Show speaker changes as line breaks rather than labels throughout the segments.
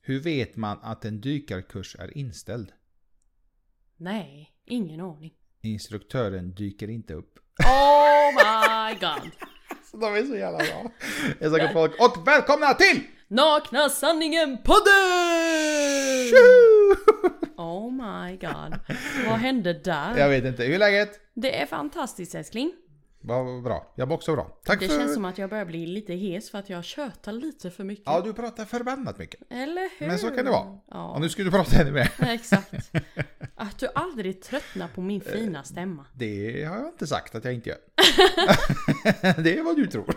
Hur vet man att en dykarkurs är inställd?
Nej, ingen aning.
Instruktören dyker inte upp.
Oh my god!
Så de är så jävla bra. Jag snackar folk och välkomna till!
Mm. Nakna sanningen-podden!
Tjoho!
Oh my god. Vad hände där?
Jag vet inte, hur är läget?
Det är fantastiskt älskling.
Vad bra, jag var också bra. Tack
Det
för...
känns som att jag börjar bli lite hes för att jag tjötar lite för mycket.
Ja, du pratar förbannat mycket.
Eller hur?
Men så kan det vara. Och
Mm. Ja,
nu ska du prata ännu mer.
exakt. Att du aldrig tröttnar på min fina stämma.
Det har jag inte sagt att jag inte gör. det är vad du tror.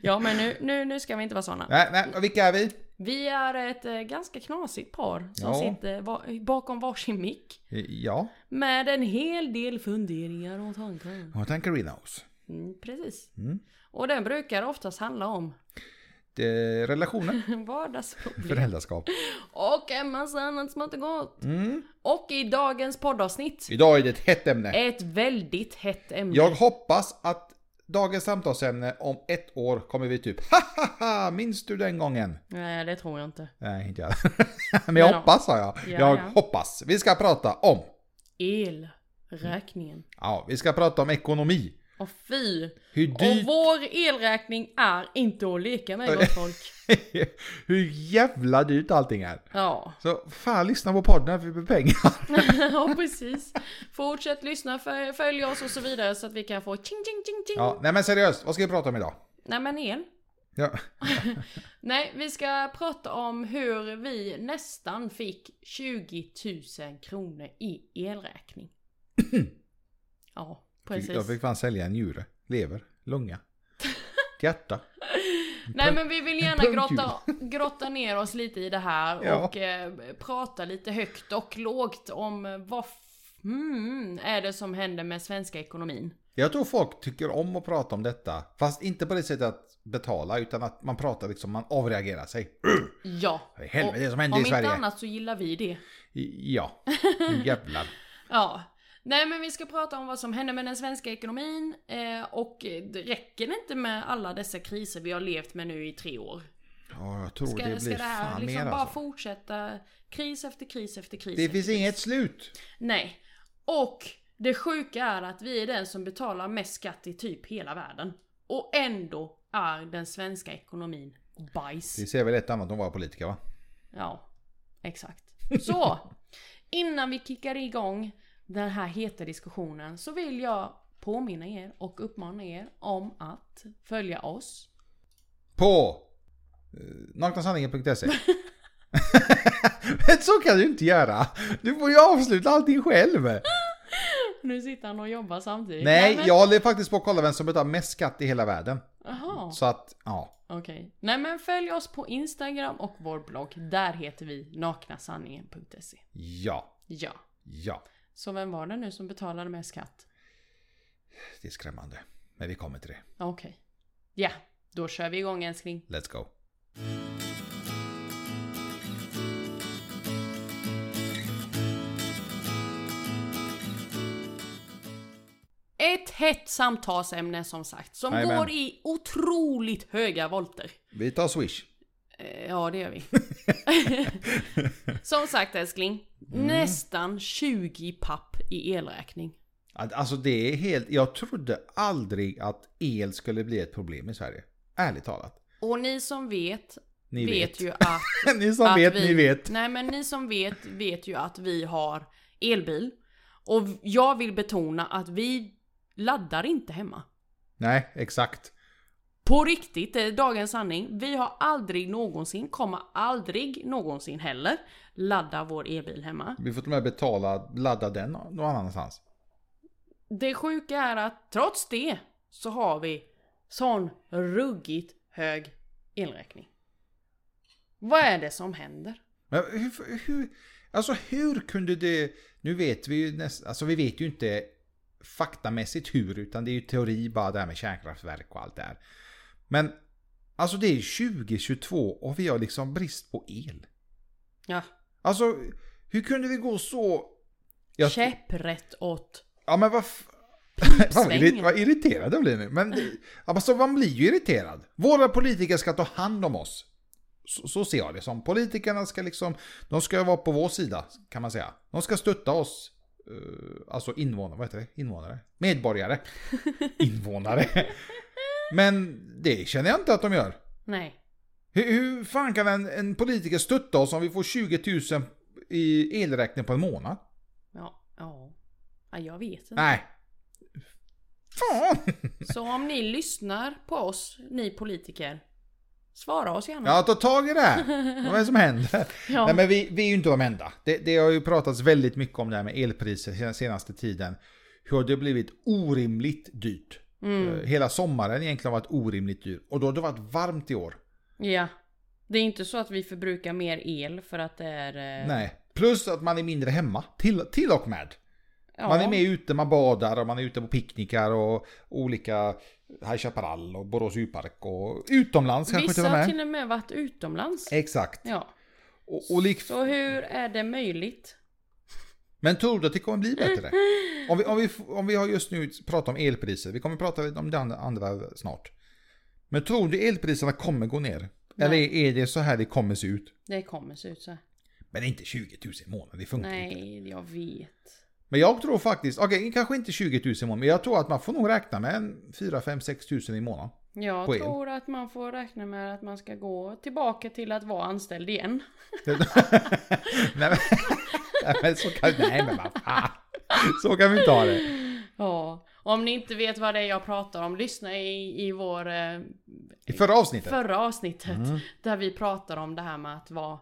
Ja men nu, nu, nu ska vi inte vara såna.
Nej, nej, och vilka är vi?
Vi är ett eh, ganska knasigt par som
Ja.
sitter va- bakom varsin mick.
Ja,
Med en hel del funderingar och tankar.
och Tankarinos.
Mm, precis.
Mm.
Och den brukar oftast handla om
Det- Relationer,
vardagsproblem.
föräldraskap.
Och en massa annat smått och gott.
Mm.
Och i dagens poddavsnitt.
Idag är det ett hett ämne.
Ett väldigt hett ämne.
Jag hoppas att dagens samtalsämne om ett år kommer vi typ ha ha ha, minns du den gången?
Nej det tror jag inte.
Nej, inte jag. Men jag
Men,
hoppas sa jag.
ja,
Jag
ja.
hoppas. Vi ska prata om,
Elräkningen.
ja, vi ska prata om ekonomi.
Och fy!
Hur
Och
Mm. dyrt,
vår elräkning är inte att leka med gott folk.
hur jävla dyrt allting är.
Ja.
Så fan lyssna på podden här för vi behöver pengar.
ja, precis. Fortsätt lyssna, fö- följ oss och så vidare så att vi kan få ching, ching, ching, ching.
Ja, nej men seriöst, vad ska vi prata om idag?
Nej, men el.
Ja,
Nej, vi ska prata om hur vi nästan fick 20 000 kronor i elräkning. ja, precis.
jag fick fan sälja en njure, lever, lunga, ett hjärta.
Nej, men vi vill gärna
punkkul.
grotta, grotta ner oss lite i det här
Ja.
och eh, prata lite högt och lågt om eh, vad f- mm, är det som händer med svenska ekonomin.
Jag tror folk tycker om att prata om detta, fast inte på det sättet att betala, utan att man pratar liksom, man avreagerar sig.
Ja.
Vad i helvete
Och
det som händer
om
i Sverige?
inte annat så gillar vi det.
Ja, jävlar.
Ja. Nej men vi ska prata om vad som händer med den svenska ekonomin eh, och eh, det räcker det inte med alla dessa kriser vi har levt med nu i tre år?
Ja, jag tror
Ska
det
det,
blir
ska det här
fan
liksom
mer
bara
alltså.
fortsätta? Kris efter kris efter kris.
Det
efter
finns
kris.
inget slut.
Nej. Och det sjuka är att vi är den som betalar mest skatt i typ hela världen. Och ändå är den svenska ekonomin bajs.
Vi ser väl ett annat om våra politiker va?
Ja, exakt. Så! Innan vi kickar igång den här heta diskussionen så vill jag påminna er och uppmana er om att följa oss.
På eh, naknasanningen.se Men så kan du inte göra! Du får ju avsluta allting själv!
Nu sitter han och jobbar samtidigt.
Nej,
men-
jag håller faktiskt på att kolla vem som betalar mest skatt i hela världen.
Jaha,
Så att, ja.
okej. Nej men följ oss på Instagram och vår blogg. Där heter vi naknasanningen.se.
Ja.
Ja.
Ja.
Så vem var det nu som betalade mest skatt?
Det är skrämmande. Men vi kommer till det.
Okej. Ja, då kör vi igång älskling.
Let's go.
Ett hett samtalsämne som sagt, som
Jajamän.
går i otroligt höga volter.
Vi tar Swish.
Eh, Ja, det gör vi. som sagt älskling,
Mm.
nästan 20 papp i elräkning.
Att- Alltså det är helt... Jag trodde aldrig att el skulle bli ett problem i Sverige. Ärligt talat.
Och ni som vet,
Ni
vet.
vet.
ju att...
ni som
att
vet,
vi,
ni vet.
Nej men ni som vet, vet ju att vi har elbil. Och jag vill betona att vi laddar inte hemma.
Nej, exakt.
På riktigt, det är dagens sanning. Vi har aldrig någonsin, kommer aldrig någonsin heller ladda vår elbil hemma.
Vi får till och med betala, ladda den någon annanstans.
Det sjuka är att trots det så har vi sån ruggigt hög elräkning. Vad är det som händer?
Men hur, hur, alltså hur kunde det... Nu vet vi ju nästan... Alltså vi vet ju inte faktamässigt hur, utan det är ju teori bara det här med kärnkraftverk och allt det här. Men alltså det är 2022 och vi har liksom brist på el.
Ja,
Alltså hur kunde vi gå så... Jag-
käpprätt åt
Ja men vad... f- Vad irri-
pipsvängen.
vad irriterad jag blir nu. Men det, alltså, man blir ju irriterad. Våra politiker ska ta hand om oss. Så, så ser jag det som. Politikerna ska liksom, de ska vara på vår sida kan man säga. De ska stötta oss, eh, alltså invånare, vad heter det? Invånare? Medborgare. Invånare. Men det känner jag inte att de gör.
Nej.
Hur, hur fan kan en, en politiker stötta oss om vi får 20 000 i elräkning på en månad?
Ja. Ja. ja jag vet inte.
Nej. Fan!
Så om ni lyssnar på oss, ni politiker. Svara oss gärna.
Ja, ta tag i det här. Vad är det som händer?
Ja.
Nej, men vi, vi är ju inte de enda. Det, det har ju pratats väldigt mycket om det här med elpriser den senaste tiden. Hur det har blivit orimligt dyrt.
Mm.
Eh, Hela sommaren egentligen har varit orimligt dyr. Och då har det varit varmt i år.
ja. Det är inte så att vi förbrukar mer el för att det är... eh,
Nej. Plus att man är mindre hemma, till, till och med.
ja.
Man är med ute, man badar och man är ute på picknickar och olika High Chaparral och Borås djurpark och utomlands kanske
Vissa
till och
har
med. Eh.
till och med varit utomlands.
Exakt.
Ja.
Och, och lik...
Så hur är det möjligt?
Men tror du att det kommer bli bättre? Om vi, om vi, om vi har just nu pratat om elpriser, vi kommer prata lite om det andra- andra snart. Men tror du elpriserna kommer gå ner? Eller är det så här det kommer se ut?
Det kommer se ut så. här.
Men inte 20 000 i månaden, det funkar inte.
Nej, jag vet.
Men jag tror faktiskt, okej kanske inte 20 000 i månaden, men jag tror att man får nog räkna med en 4, 5, 6 000 i månaden.
Jag
På el.
tror att man får räkna med att man ska gå tillbaka till att vara anställd igen.
nej, men, nej men så kan, nej, men vad fan. Så kan vi inte ha det.
Ja. Om ni inte vet vad det är jag pratar om, lyssna i, i vår eh,
I förra avsnittet.
förra avsnittet. Där vi pratar om det här med att vara,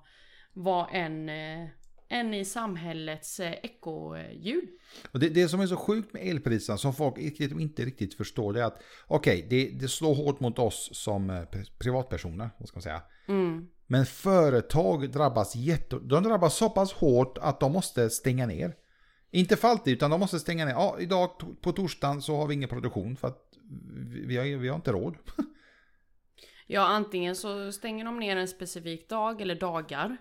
vara en, eh, en i samhällets eh, ekohjul.
Och det, det som är så sjukt med elpriserna som folk inte- inte riktigt förstår det är att okej, det, det slår hårt mot oss som eh, pri- privatpersoner. Vad ska man säga.
Mm.
Men företag drabbas jätte... De drabbas så pass hårt att de måste stänga ner. Inte för alltid, utan de måste stänga ner. Ja, idag to- på torsdagen så har vi ingen produktion för att vi- vi har, vi har inte råd.
Ja, antingen så stänger de ner en specifik dag eller dagar.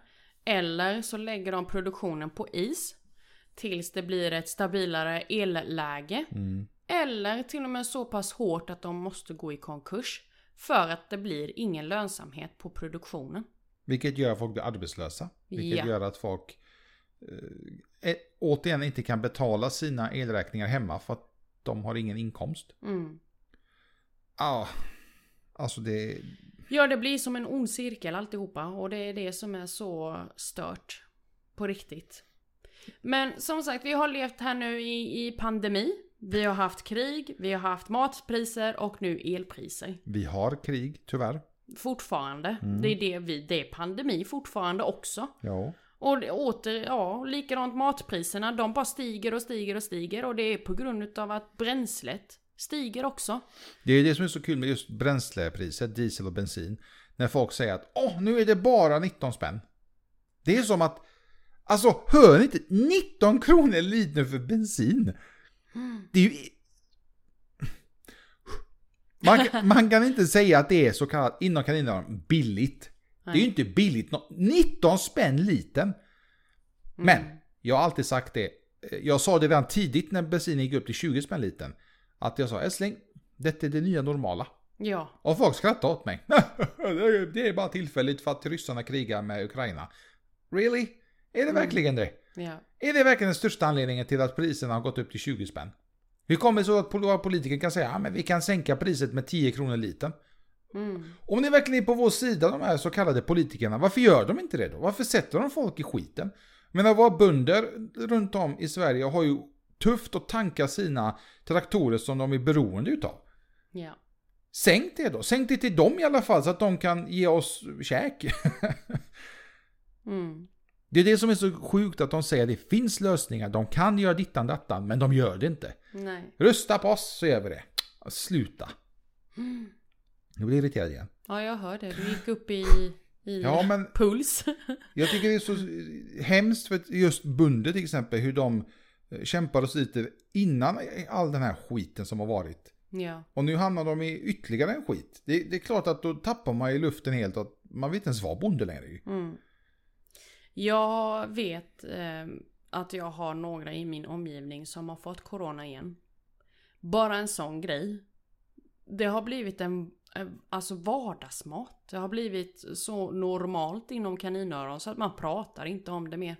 Eller så lägger de produktionen på is. Tills det blir ett stabilare elläge. Eller till och med så pass hårt att de måste gå i konkurs. För att det blir ingen lönsamhet på produktionen.
Vilket gör att folk blir arbetslösa. Vilket
Ja.
gör att folk eh, återigen inte kan betala sina elräkningar hemma för att de har ingen inkomst.
Mm.
Ja, alltså det...
Ja, det blir som en ond cirkel alltihopa och det är det som är så stört. På riktigt. Men som sagt, vi har levt här nu i, i pandemi. Vi har haft krig, vi har haft matpriser och nu elpriser.
Vi har krig, tyvärr.
Fortfarande. Det är det vi, det är pandemi fortfarande också.
Ja.
Och det- åter, ja, likadant matpriserna. De bara stiger och stiger och stiger och det är på grund utav att bränslet stiger också. Mm.
Det är det som är så kul med just bränslepriset, diesel och bensin. När folk säger att åh, nu är det bara 19 spänn. Det är som att... Alltså, hör ni inte? 19 kronor litern för bensin! Det är ju... Man, kan- man kan inte säga att det är så kallat, inom kaninöron, billigt. Det är ju inte billigt. nå- 19 spänn litern!
Mm.
Men, jag har alltid sagt det. eh, Jag sa det redan tidigt när bensinen gick upp till 20 spänn litern. Att jag sa älskling, detta är det nya normala.
Ja,
Och folk skrattade åt mig. det är bara tillfälligt för att ryssarna krigar med Ukraina. Really? Är det verkligen det?
ja.
Är det verkligen den största anledningen till att priserna har gått upp till 20 spänn? Hur kommer det så att våra politiker kan säga att men vi kan sänka priset med 10 kronor litern?
Mm.
Om ni verkligen är på vår sida, de här så kallade politikerna, varför gör de inte det då? Varför sätter de folk i skiten? Men att våra bönder runt om i Sverige har ju tufft att tanka sina traktorer som de är beroende utav.
Ja.
Sänk det då, sänk det till dem i alla fall så att de kan ge oss käk.
Mm.
det är det som är så sjukt att de säger att det finns lösningar, de kan göra dittan dattan, men de gör det inte.
Nej.
Rösta på oss så gör vi det. Sluta. Nu blir jag irriterad igen.
Ja, jag hör det. Du gick upp i, i
Ja, men-
puls.
Jag tycker det är så hemskt för att just bönder till exempel, hur de eh, kämpar och sliter innan all den här skiten som har varit.
ja.
Och nu hamnar de i ytterligare en skit. Det, det är klart att då tappar man ju luften helt och att man vill inte ens vara bonde längre. ju.
Mm. Jag vet eh, att jag har några i min omgivning som har fått corona igen. Bara en sån grej. Det har blivit en, eh, Alltså vardagsmat. Det har blivit så normalt inom kaninöron så att man pratar inte om det mer.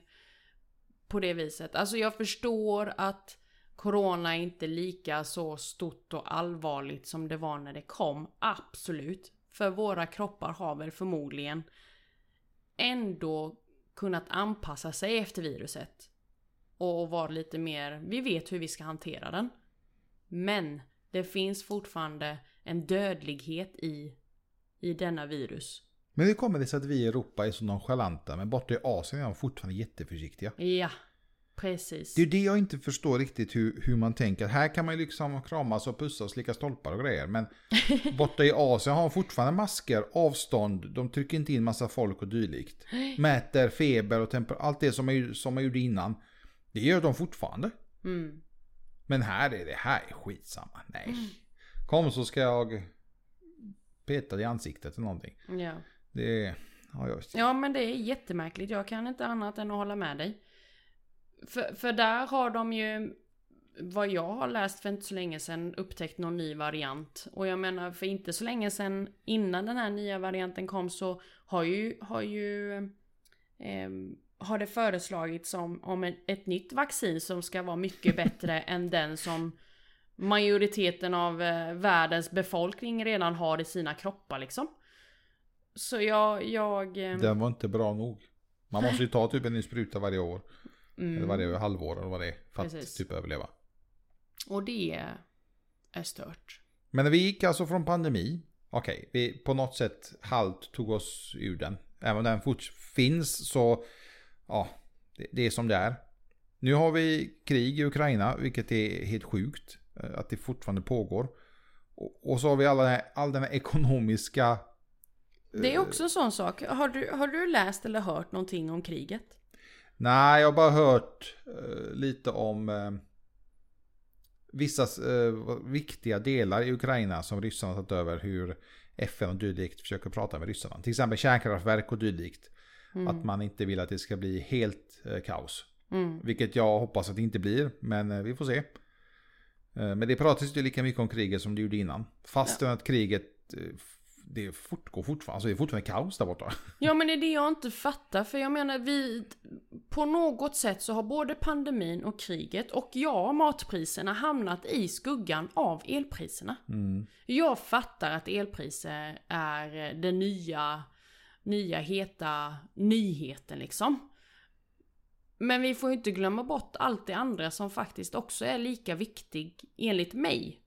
På det viset. Alltså jag förstår att Corona är inte lika så stort och allvarligt som det var när det kom. Absolut. För våra kroppar har väl förmodligen ändå kunnat anpassa sig efter viruset. Och vara lite mer, vi vet hur vi ska hantera den. Men det finns fortfarande en dödlighet i, i denna virus.
Men hur kommer det sig att vi i Europa är så nonchalanta men borta i Asien är de fortfarande jätteförsiktiga?
Ja, precis.
Det är ju det jag inte förstår riktigt hur, hur man tänker. Här kan man ju liksom kramas och pussa och slicka stolpar och grejer. Men borta i Asien har de fortfarande masker, avstånd, de trycker inte in massa folk och dylikt. Mäter feber och temperatur, allt det som man, ju- som man gjorde innan. Det gör de fortfarande.
Mm.
Men här är det, här är skitsamma. Nej. Kom så ska jag peta dig i ansiktet eller någonting.
Ja.
Det är... Ja, just.
ja, men det är jättemärkligt. Jag kan inte annat än att hålla med dig. För, för där har de ju, vad jag har läst för inte så länge sedan, upptäckt någon ny variant. Och jag menar, för inte så länge sedan innan den här nya varianten kom så har ju, har ju ehm, har det föreslagits om, om en, ett nytt vaccin som ska vara mycket bättre än den som majoriteten av eh, världens befolkning redan har i sina kroppar liksom. Så jag, jag... ehm,
Den var inte bra nog. Man måste ju ta typ en ny spruta varje år.
mm.
Eller varje halvår eller vad det är. För att
Precis.
typ överleva.
Och det är stört.
Men vi gick alltså från pandemi. Okej, vi på något sätt halvt tog oss ur den. Även om den fort finns så... Ja, det, det är som det är. Nu har vi krig i Ukraina, vilket är helt sjukt. eh, Att det fortfarande pågår. Och, och så har vi alla, den här- all den här ekonomiska...
Det är också en sån sak. Har du, har du läst eller hört någonting om kriget?
Nej, jag har bara hört eh, lite om eh, vissa eh, viktiga delar i Ukraina som ryssarna har tagit över. Hur FN och dylikt försöker prata med ryssarna. Till exempel kärnkraftverk och dylikt. Att man inte vill att det ska bli helt eh, kaos.
Mm.
Vilket jag hoppas att det inte blir, men eh, vi får se. Eh, men det pratas ju lika mycket om kriget som det gjorde innan. Fastän att kriget eh, f- det fortgår fortfarande. Alltså det är fortfarande kaos där borta.
Ja men det är det jag inte fattar för jag menar vi På något sätt så har både pandemin och kriget och ja matpriserna hamnat i skuggan av elpriserna. Jag fattar att elpriser är den nya Nya heta nyheten liksom. Men vi får ju inte glömma bort allt det andra som faktiskt också är lika viktig enligt mig.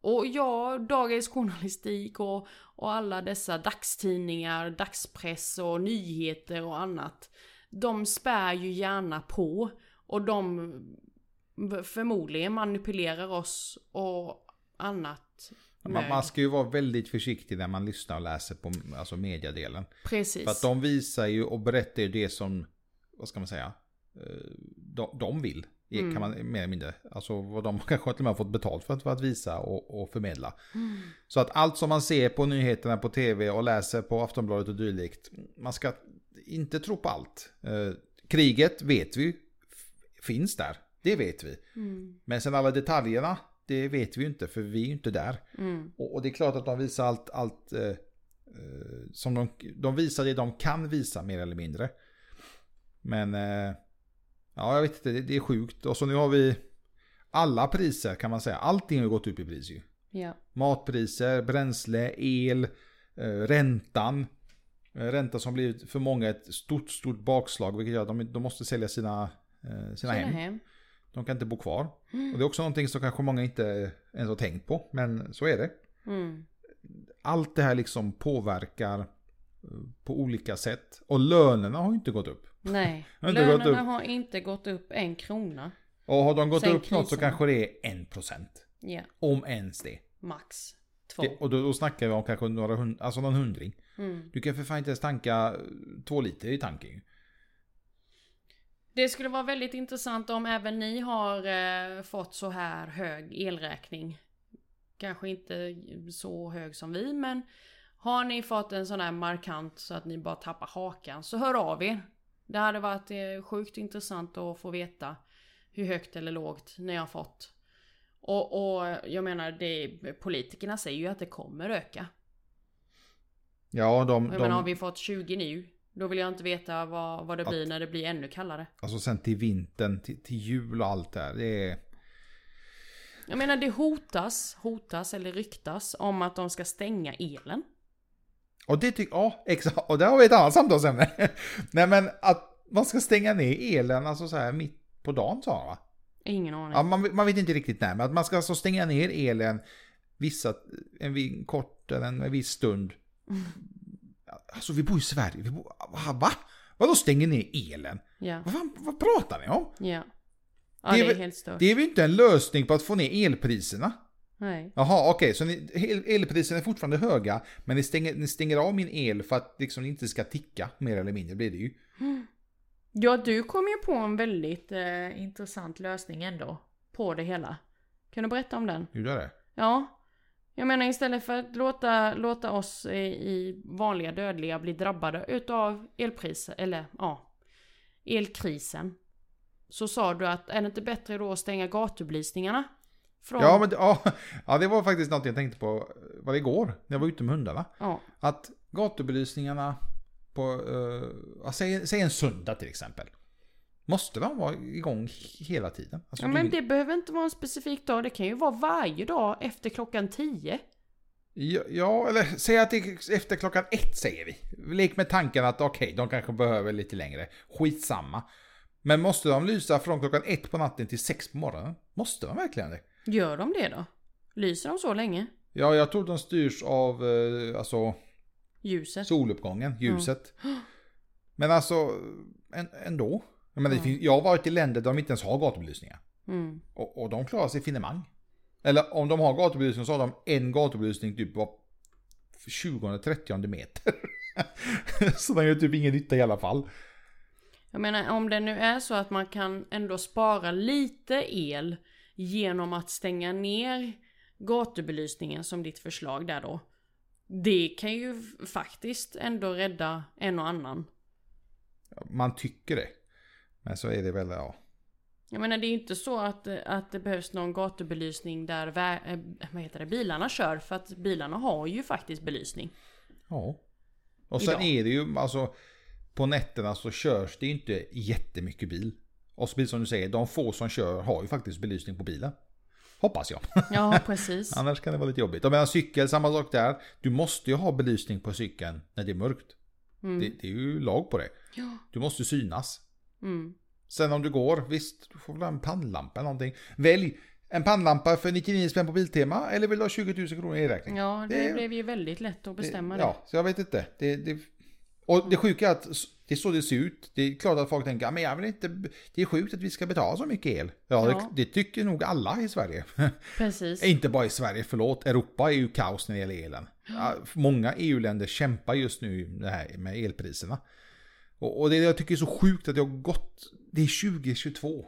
Och ja, dagens journalistik och, och alla dessa dagstidningar, dagspress och nyheter och annat. De spär ju gärna på och de förmodligen manipulerar oss och annat.
Man,
med-
man ska ju vara väldigt försiktig när man lyssnar och läser på alltså mediadelen.
Precis.
För att de visar ju och berättar ju det som, vad ska man säga, eh, de, de vill. Det Kan man mer eller mindre. Alltså vad de kanske till och med har fått betalt för att, för att visa och, och förmedla. Så att allt som man ser på nyheterna på tv och läser på Aftonbladet och dylikt. Man ska inte tro på allt. Eh, Kriget vet vi f- finns där. Det vet vi.
Mm.
Men sen alla detaljerna, det vet vi ju inte för vi är ju inte där.
Mm.
Och, och det är klart att de visar allt, allt eh, eh, som de, de visar det de kan visa mer eller mindre. Men eh, ja, jag vet inte, det, det är sjukt. Och så nu har vi alla priser kan man säga. Allting har gått upp i pris ju.
Ja.
Matpriser, bränsle, el, eh, räntan. Eh, Ränta som blivit för många ett stort, stort bakslag vilket gör att de, de måste sälja sina, eh, sina,
Sina
hem. Mm.
hem.
De kan inte bo kvar. Och det är också någonting som kanske många inte ens har tänkt på. Men så är det
Mm.
allt det här liksom påverkar eh, på olika sätt. Och lönerna har ju inte gått upp.
Nej.
Har inte gått
Lönerna
upp.
har inte gått upp en krona.
Och har de gått
Sen
upp något så
krisen.
kanske det är 1%.
Ja,
Om ens det.
max två.
det och då, då snackar vi om kanske några hund, alltså någon hundring.
Mm.
Du kan för fan inte ens tanka eh, två liter i tanken ju.
Det skulle vara väldigt intressant om även ni har eh, fått så här hög elräkning. Kanske inte så hög som vi men har ni fått en sån här markant så att ni bara tappar hakan så hör av er. Det hade varit eh, sjukt intressant att få veta hur högt eller lågt ni har fått. Och, och jag menar, det, politikerna säger ju att det kommer öka.
Ja, de...
Och Jag
de
menar, har vi fått 20 nu? Då vill jag inte veta vad, vad det blir när det blir ännu kallare.
Alltså sen till vintern, till, till jul och allt där. Det är...
Jag menar, det hotas, hotas eller ryktas om att de ska stänga elen.
Och det tycker ja, exakt. Och där har vi ett annat samtalsämne. Nej men att man ska stänga ner elen alltså så här mitt på dagen sa han va?
Ingen aning.
Ja, man, man vet inte riktigt när, men att man ska alltså stänga ner elen vissa, en vi- kortare än en viss stund. Alltså vi bor i Sverige, vi bor, va? va? Vadå stänger ner elen?
Ja,
Vad, fan, vad pratar ni om?
ja. Ja,
Det
det
är
är,
väl-
helt stört.
Det är väl inte en lösning på att få ner elpriserna?
Nej.
Jaha, okej, så ni, el, elpriserna är fortfarande höga, men ni stänger, ni stänger av min el för att liksom det inte ska ticka, mer eller mindre blir det ju.
Ja, du kom ju på en väldigt eh, intressant lösning ändå. På det hela. Kan du berätta om den?
Gjorde jag det?
Ja. Jag menar istället för att låta, låta oss i, i vanliga dödliga bli drabbade utav elpriser, eller ja, elkrisen. Så sa du att är det inte bättre då att stänga gatubelysningarna? Från,
Ja, men det- ja, ja, det var faktiskt något jag tänkte på, var det igår, när jag var ute med hundarna.
Ja,
Att gatubelysningarna på, eh, ja, säg, säg en söndag till exempel. Måste de vara igång hela tiden? Alltså,
ja
du
men
vill-
det behöver inte vara en specifik dag. Det kan ju vara varje dag efter klockan 10.
Ja, ja, eller säg att det är efter klockan ett säger vi. Lek med tanken att okej, de kanske behöver lite längre. Skitsamma. Men måste de lysa från klockan ett på natten till sex på morgonen? Måste de verkligen det?
Gör de det då? Lyser de så länge?
Ja, jag tror de styrs av eh, alltså,
Ljuset?
soluppgången, ljuset. Men alltså, en, ändå. Jag, menar, det finns, jag har varit i länder där de inte ens har gatubelysningar.
Mm.
Och, och de klarar sig finemang. Eller om de har gatubelysning så har de en gatubelysning typ var 20-30 meter. så den gör typ ingen nytta i alla fall.
Jag menar om det nu är så att man kan ändå spara lite el genom att stänga ner gatubelysningen som ditt förslag där då. Det kan ju f- faktiskt ändå rädda en och annan.
Man tycker det. Men så är det väl, ja.
Jag menar det är ju inte så att, eh, att det behövs någon gatubelysning där vä- eh, vad heter det, bilarna kör för att bilarna har ju faktiskt belysning.
Ja. Och sen
Idag.
är det ju, alltså på nätterna så körs det ju inte jättemycket bil. Och så precis som du säger, de få som kör har ju faktiskt belysning på bilen. Hoppas jag.
Ja precis.
Annars kan det vara lite jobbigt. Jag menar cykel, samma sak där. Du måste ju ha belysning på cykeln när det är mörkt.
Mm.
Det, det är ju lag på det.
Ja.
Du måste synas.
Mm.
Sen om du går, visst, du får väl ha en pannlampa eller någonting. Välj en pannlampa för 99 spänn på Biltema eller vill du ha 20 000 kronor i räkning?
Ja det,
Det-
blev ju väldigt lätt att bestämma det.
Ja, så jag vet inte. Det, det, och det sjuka är att s- det är så det ser ut. Det är klart att folk tänker, "Ja, men jag vill inte, b- det är sjukt att vi ska betala så mycket el. Ja,
Ja.
Det, det tycker nog alla i Sverige.
Precis.
inte bara i Sverige, förlåt. Europa är ju kaos när det gäller elen. Ja, Många EU-länder kämpar just nu med det här med elpriserna. Och, och det jag tycker är så sjukt att det har gått, det är 2022.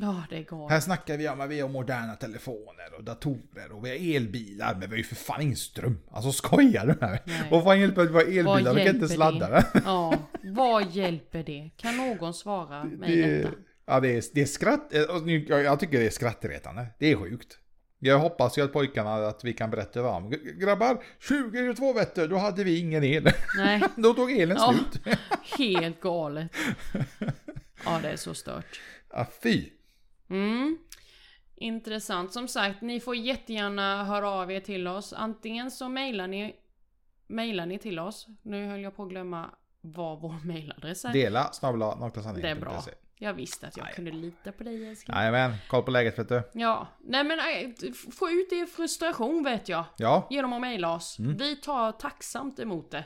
Ja det är galet.
Här snackar vi om att vi har moderna telefoner och datorer och vi har elbilar men vi har ju för fan ingen ström. Alltså skojar du med mig?
Nej.
Vad fan hjälper det att vi har
Vad
elbilar? Vi kan
hjälper
inte sladda
det?
den.
Ja, vad hjälper det? Kan någon svara mig
Det,
detta?
ja, det är, det är skratt... eh, och nu- Jag jag tycker det är skrattretande. Det är sjukt. Jag hoppas ju att pojkarna att vi kan berätta för dem. "Gr- Grabbar, 2022 vet du, då hade vi ingen el.
Nej,
då tog elen
Ja.
slut.
helt galet. Ja, det är så stört.
Ja, fy.
Mm. Intressant. Som sagt, ni får jättegärna höra av er till oss. Antingen så mejlar ni, mejlar ni till oss. Nu höll jag på att glömma vad vår mejladress är.
Dela snabla naklasanering.se.
Det är bra. Jag visste att jag kunde lita på dig älskling.
Jajamän, E. koll på läget vet du.
Ja, nej men äh, f- få ut er frustration vet jag.
Ja,
Genom att mejla oss.
Mm.
Vi tar tacksamt emot det.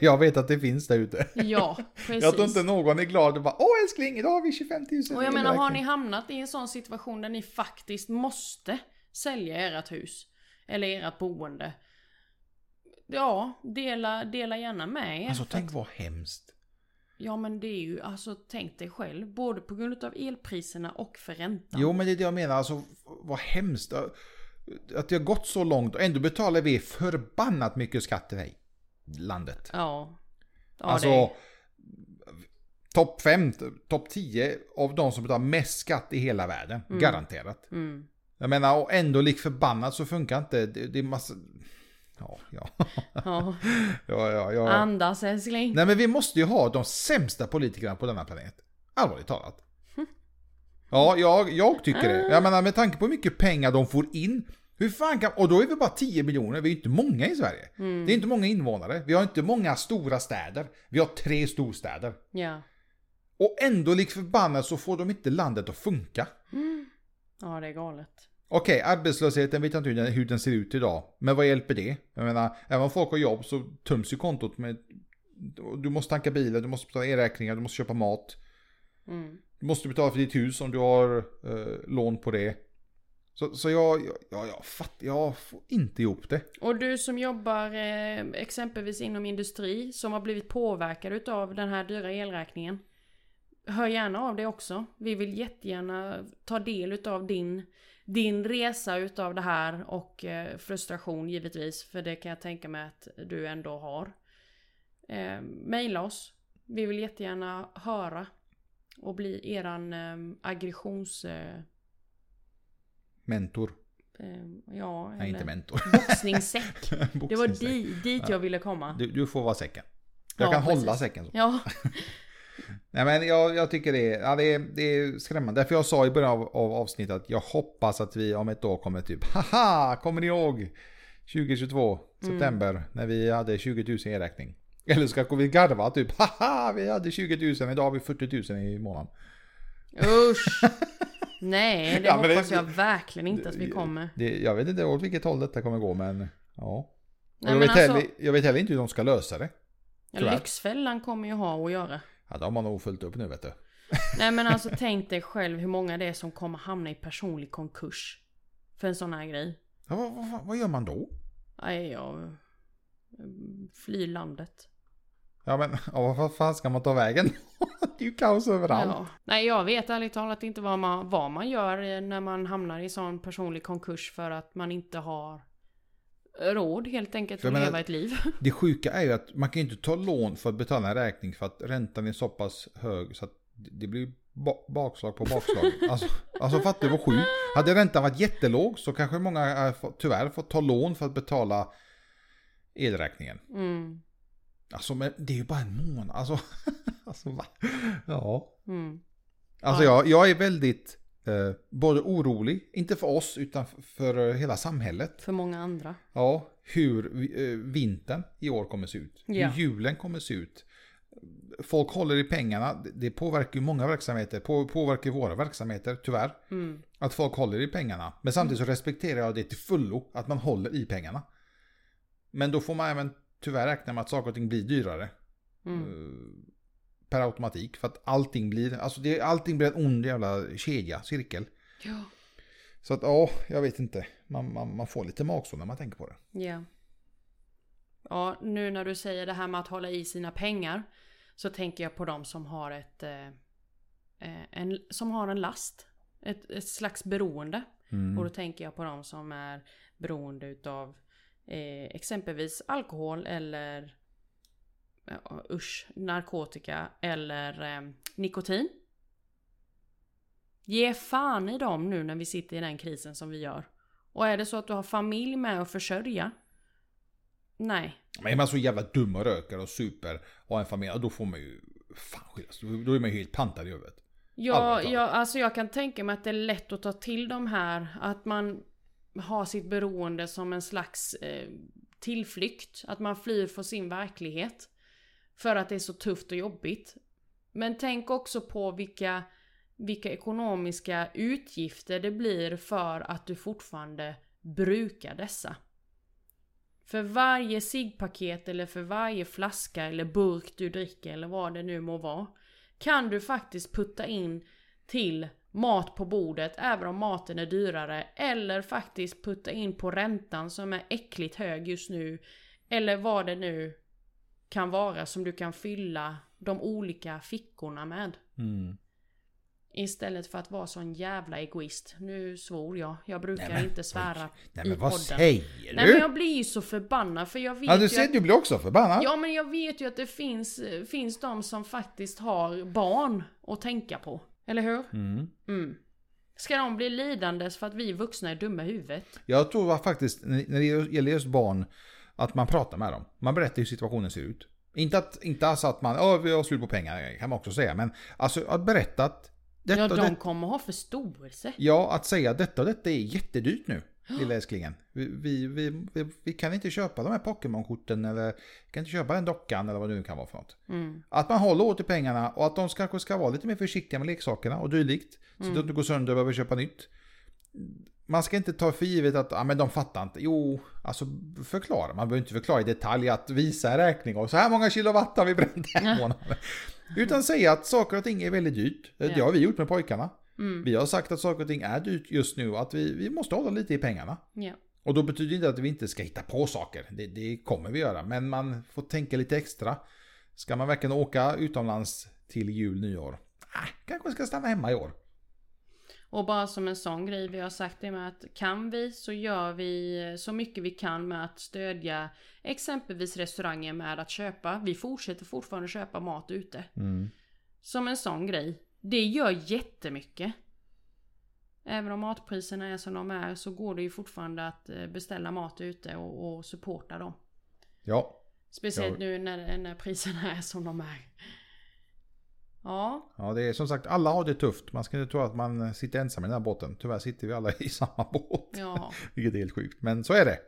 jag vet att det finns där ute.
Ja, precis.
Jag tror inte någon är glad och bara Åh älskling, idag har vi 25 000
Och jag menar, har ni
elräkning."
hamnat i en sån situation där ni faktiskt måste sälja ert hus eller ert boende. Ja, dela, dela gärna med er.
Alltså tänk vad hemskt.
Ja men det är ju, alltså tänk dig själv. Både på grund av elpriserna och för räntan.
Jo men det är det jag menar, alltså vad hemskt. Att det har gått så långt och ändå betalar vi förbannat mycket skatt till dig. Landet.
Ja. ja det
alltså
är,
topp 5, topp 10 av de som betalar mest skatt i hela världen. Garanterat.
mm,
Jag menar, och ändå lik förbannat så funkar inte. Det, det är massa... Ja, ja.
Ja.
ja, ja, ja.
Andas älskling.
Nej, men vi måste ju ha de sämsta politikerna på denna planet. Allvarligt talat. Ja, jag, jag tycker det. Jag menar, med tanke på hur mycket pengar de får in. Hur fan kan... Och då är vi bara 10 miljoner, vi är ju inte många i Sverige. Det är inte många invånare, vi har inte många stora städer. Vi har tre storstäder.
Ja.
Och ändå lik förbannat så får de inte landet att funka.
ja, det är galet.
Okej, arbetslösheten vet jag inte hur den, hur den ser ut idag. Men vad hjälper det? Jag menar, även om folk har jobb så töms ju kontot med... Du måste tanka bilen, du måste betala elräkningar, du måste köpa mat.
Mm.
Du måste betala för ditt hus om du har eh, lån på det. Så, så jag, jag, jag, jag, fatt, jag får inte ihop det.
Och du som jobbar eh, exempelvis inom industri som har blivit påverkad utav den här dyra elräkningen. Hör gärna av dig också. Vi vill jättegärna ta del utav din, din resa utav det här och eh, frustration givetvis. För det kan jag tänka mig att du ändå har. Eh, maila oss. Vi vill jättegärna höra och bli eran eh, aggressions... Eh,
Mentor.
eh, ja,
Nej, inte mentor.
boxningssäck. Det var di, dit jag ville komma.
Du, du får vara säcken. Jag
Ja,
kan
precis.
hålla säcken. Så.
Ja.
Nej men jag, jag tycker det är, ja, det är, det är skrämmande. Därför jag sa i början av, av avsnittet att jag hoppas att vi om ett år kommer typ Haha! Kommer ni ihåg?
Mm.
2022 september när vi hade 20 000 i räkning. Eller ska vi garva typ Haha! Vi hade 20 000, idag har vi 40 000 i månaden.
Usch! Nej, det
Ja, men det-
hoppas jag verkligen inte att vi kommer.
Det, jag vet inte åt vilket håll detta kommer gå men ja. Och
Nej,
jag,
men
vet
alltså,
heller, jag vet heller inte hur de ska lösa det.
ja,
tyvärr.
Lyxfällan kommer ju ha att göra.
Ja, det har man nog fullt upp nu vet du.
Nej men alltså tänk dig själv hur många det är som kommer hamna i personlig konkurs. För en sån här grej.
Ja, vad, vad, fan- vad gör man då?
Nej, jag... Fly landet.
Ja men ja, vad fan ska man ta vägen? det är ju kaos överallt.
Ja. Nej jag vet ärligt talat inte vad man, vad man gör eh, när man hamnar i sån personlig konkurs för att man inte har råd helt enkelt
För jag
att
menar-
leva ett liv.
Det sjuka är ju att man kan ju inte ta lån för att betala en räkning för att räntan är så pass hög så att det blir ba- bakslag på bakslag. Alltså, alltså fattar du vad sjukt? Hade räntan varit jättelåg så kanske många eh, få- tyvärr fått ta lån för att betala elräkningen.
Mm,
Alltså men det är ju bara en månad. Alltså, alltså va? Ja.
mm.
Alltså
Ja.
jag, jag är väldigt eh, både orolig, inte för oss utan f- för eh, hela samhället.
För många andra.
Ja, hur vi- eh, vintern i år kommer se ut.
Ja.
Hur julen kommer se ut. Folk håller i pengarna. Det- Det påverkar ju många verksamheter. På, påverkar våra verksamheter, tyvärr.
Mm.
Att folk håller i pengarna. Men samtidigt så respekterar jag det till fullo. Att man håller i pengarna. Men då får man även tyvärr räkna med att saker och ting blir dyrare.
Mm.
eh, Per automatik. För att allting blir, alltså det, allting blir en ond jävla kedja, cirkel.
Ja.
Så att ja, jag vet inte. Man, man, man får lite magsår när man tänker på det.
Ja. Ja, nu när du säger det här med att hålla i sina pengar så tänker jag på de som har ett eh, eh, en, som har en last. Ett, ett slags beroende.
Mm.
Och då tänker jag på de som är beroende utav eh, exempelvis alkohol eller ja, usch, narkotika eller eh, nikotin. Ge fan i dem nu när vi sitter i den krisen som vi gör. Och är det så att du har familj med att försörja? Nej.
Men är man så jävla dum och röker och super och har en familj, ja, då får man ju fan skiljas. Då då är man ju helt pantad i huvudet.
Jag,
Allvarligt talat.
jag, alltså jag kan tänka mig att det är lätt att ta till de här. Att man har sitt beroende som en slags eh, tillflykt. Att man flyr från sin verklighet. För att det är så tufft och jobbigt. Men tänk också på vilka, vilka ekonomiska utgifter det blir för att du fortfarande brukar dessa. För varje ciggpaket eller för varje flaska eller burk du dricker eller vad det nu må vara. Kan du faktiskt putta in till mat på bordet även om maten är dyrare. Eller faktiskt putta in på räntan som är äckligt hög just nu. Eller vad det nu kan vara som du kan fylla de olika fickorna med. Istället för att vara sån jävla egoist. Nu svor jag. Jag brukar inte svära
Nej
i
men vad
podden.
säger
Nej men
du?
jag blir ju så förbannad för jag vet
Ja
ju
du ser,
att,
du blir också förbannad.
Ja men jag vet ju att det finns, finns de som faktiskt har barn att tänka på. Eller hur?
Mm.
Mm. Ska de bli lidandes för att vi vuxna är dumma i huvudet?
Jag tror att faktiskt, när när det gäller just barn, att man pratar med dem. Man berättar hur situationen ser ut. Inte, att, inte alltså att man, ja vi har slut på pengar, kan man också säga. Men alltså att berätta att detta,
Ja,
och
de
det,
kommer ha förståelse.
ja, att säga att detta och detta är jättedyrt nu. Lilla älsklingen. Vi, vi, vi, vi, vi kan inte köpa de här Pokémon-korten eller vi kan inte köpa den dockan eller vad det nu kan vara för något.
Mm.
Att man håller åt i pengarna och att de ska- kanske ska vara lite mer försiktiga med leksakerna och dylikt. Så att det inte går sönder och behöver köpa nytt. Man ska inte ta för givet att ah, men de fattar inte. Jo, alltså förklara. Man behöver inte förklara i detalj att visa en räkning och så här många kilowatt har vi bränt den här månaden. Utan säga att saker och ting är väldigt dyrt. Det
Ja.
har vi gjort med pojkarna.
Mm.
Vi har sagt att saker och ting är dyrt just nu och att vi, vi måste hålla lite i pengarna.
Ja.
Och då betyder det inte att vi inte ska hitta på saker. Det, det kommer vi göra. Men man får tänka lite extra. Ska man verkligen åka utomlands till jul, nyår? Äh, kanske ska stanna hemma i år.
Och bara som en sån grej, vi har sagt det med att kan vi så gör vi så mycket vi kan med att stödja exempelvis restauranger med att köpa. Vi fortsätter fortfarande köpa mat ute. Som en sån grej. Det gör jättemycket. Även om matpriserna är som de är så går det ju fortfarande att eh, beställa mat ute och, och supporta dem.
Ja,
Speciellt
Ja.
nu när, när priserna är som de är. Ja,
ja, det är som sagt alla har det tufft. Man ska inte tro att man sitter ensam i den här båten. Tyvärr sitter vi alla i samma båt.
ja.
Vilket är helt sjukt. Men så är det.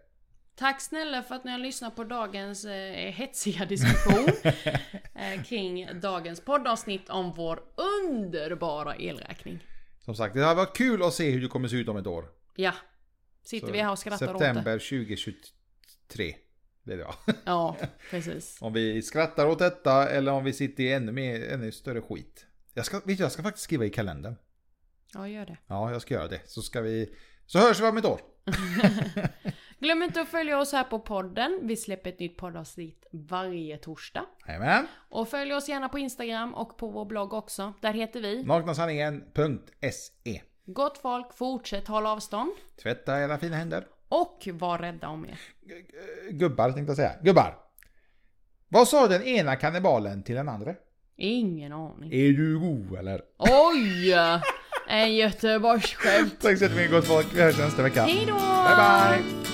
Tack snälla för att ni har lyssnat på dagens eh, hetsiga diskussion eh, kring dagens poddavsnitt om vår underbara elräkning.
Som sagt, det hade varit kul att se hur det kommer se ut om ett år.
Ja, sitter
Så
vi här och skrattar åt det.
September 2023. Det är det, ja.
Ja, precis.
Om vi skrattar åt detta eller om vi sitter i ännu, mer, ännu större skit. Jag ska, vet du, jag ska faktiskt skriva i kalendern.
Ja, gör det.
Ja, jag ska göra det. Så ska vi... Så hörs vi om ett år.
Glöm inte att följa oss här på podden. Vi släpper ett nytt poddavsnitt varje torsdag.
Jajamän.
Och följ oss gärna på Instagram och på vår blogg också. Där heter vi
Naknasanningen.se
Gott folk, fortsätt hålla avstånd.
E. Tvätta era fina händer.
Och var rädda om er.
G- g- Gubbar tänkte jag säga. Gubbar! Vad sa den ena kannibalen till den andra?
Ingen aning.
Är du god eller?
Oj! En Göteborgsskämt.
Tack så jättemycket gott folk. Vi hörs nästa vecka.
Hej då!
Bye bye!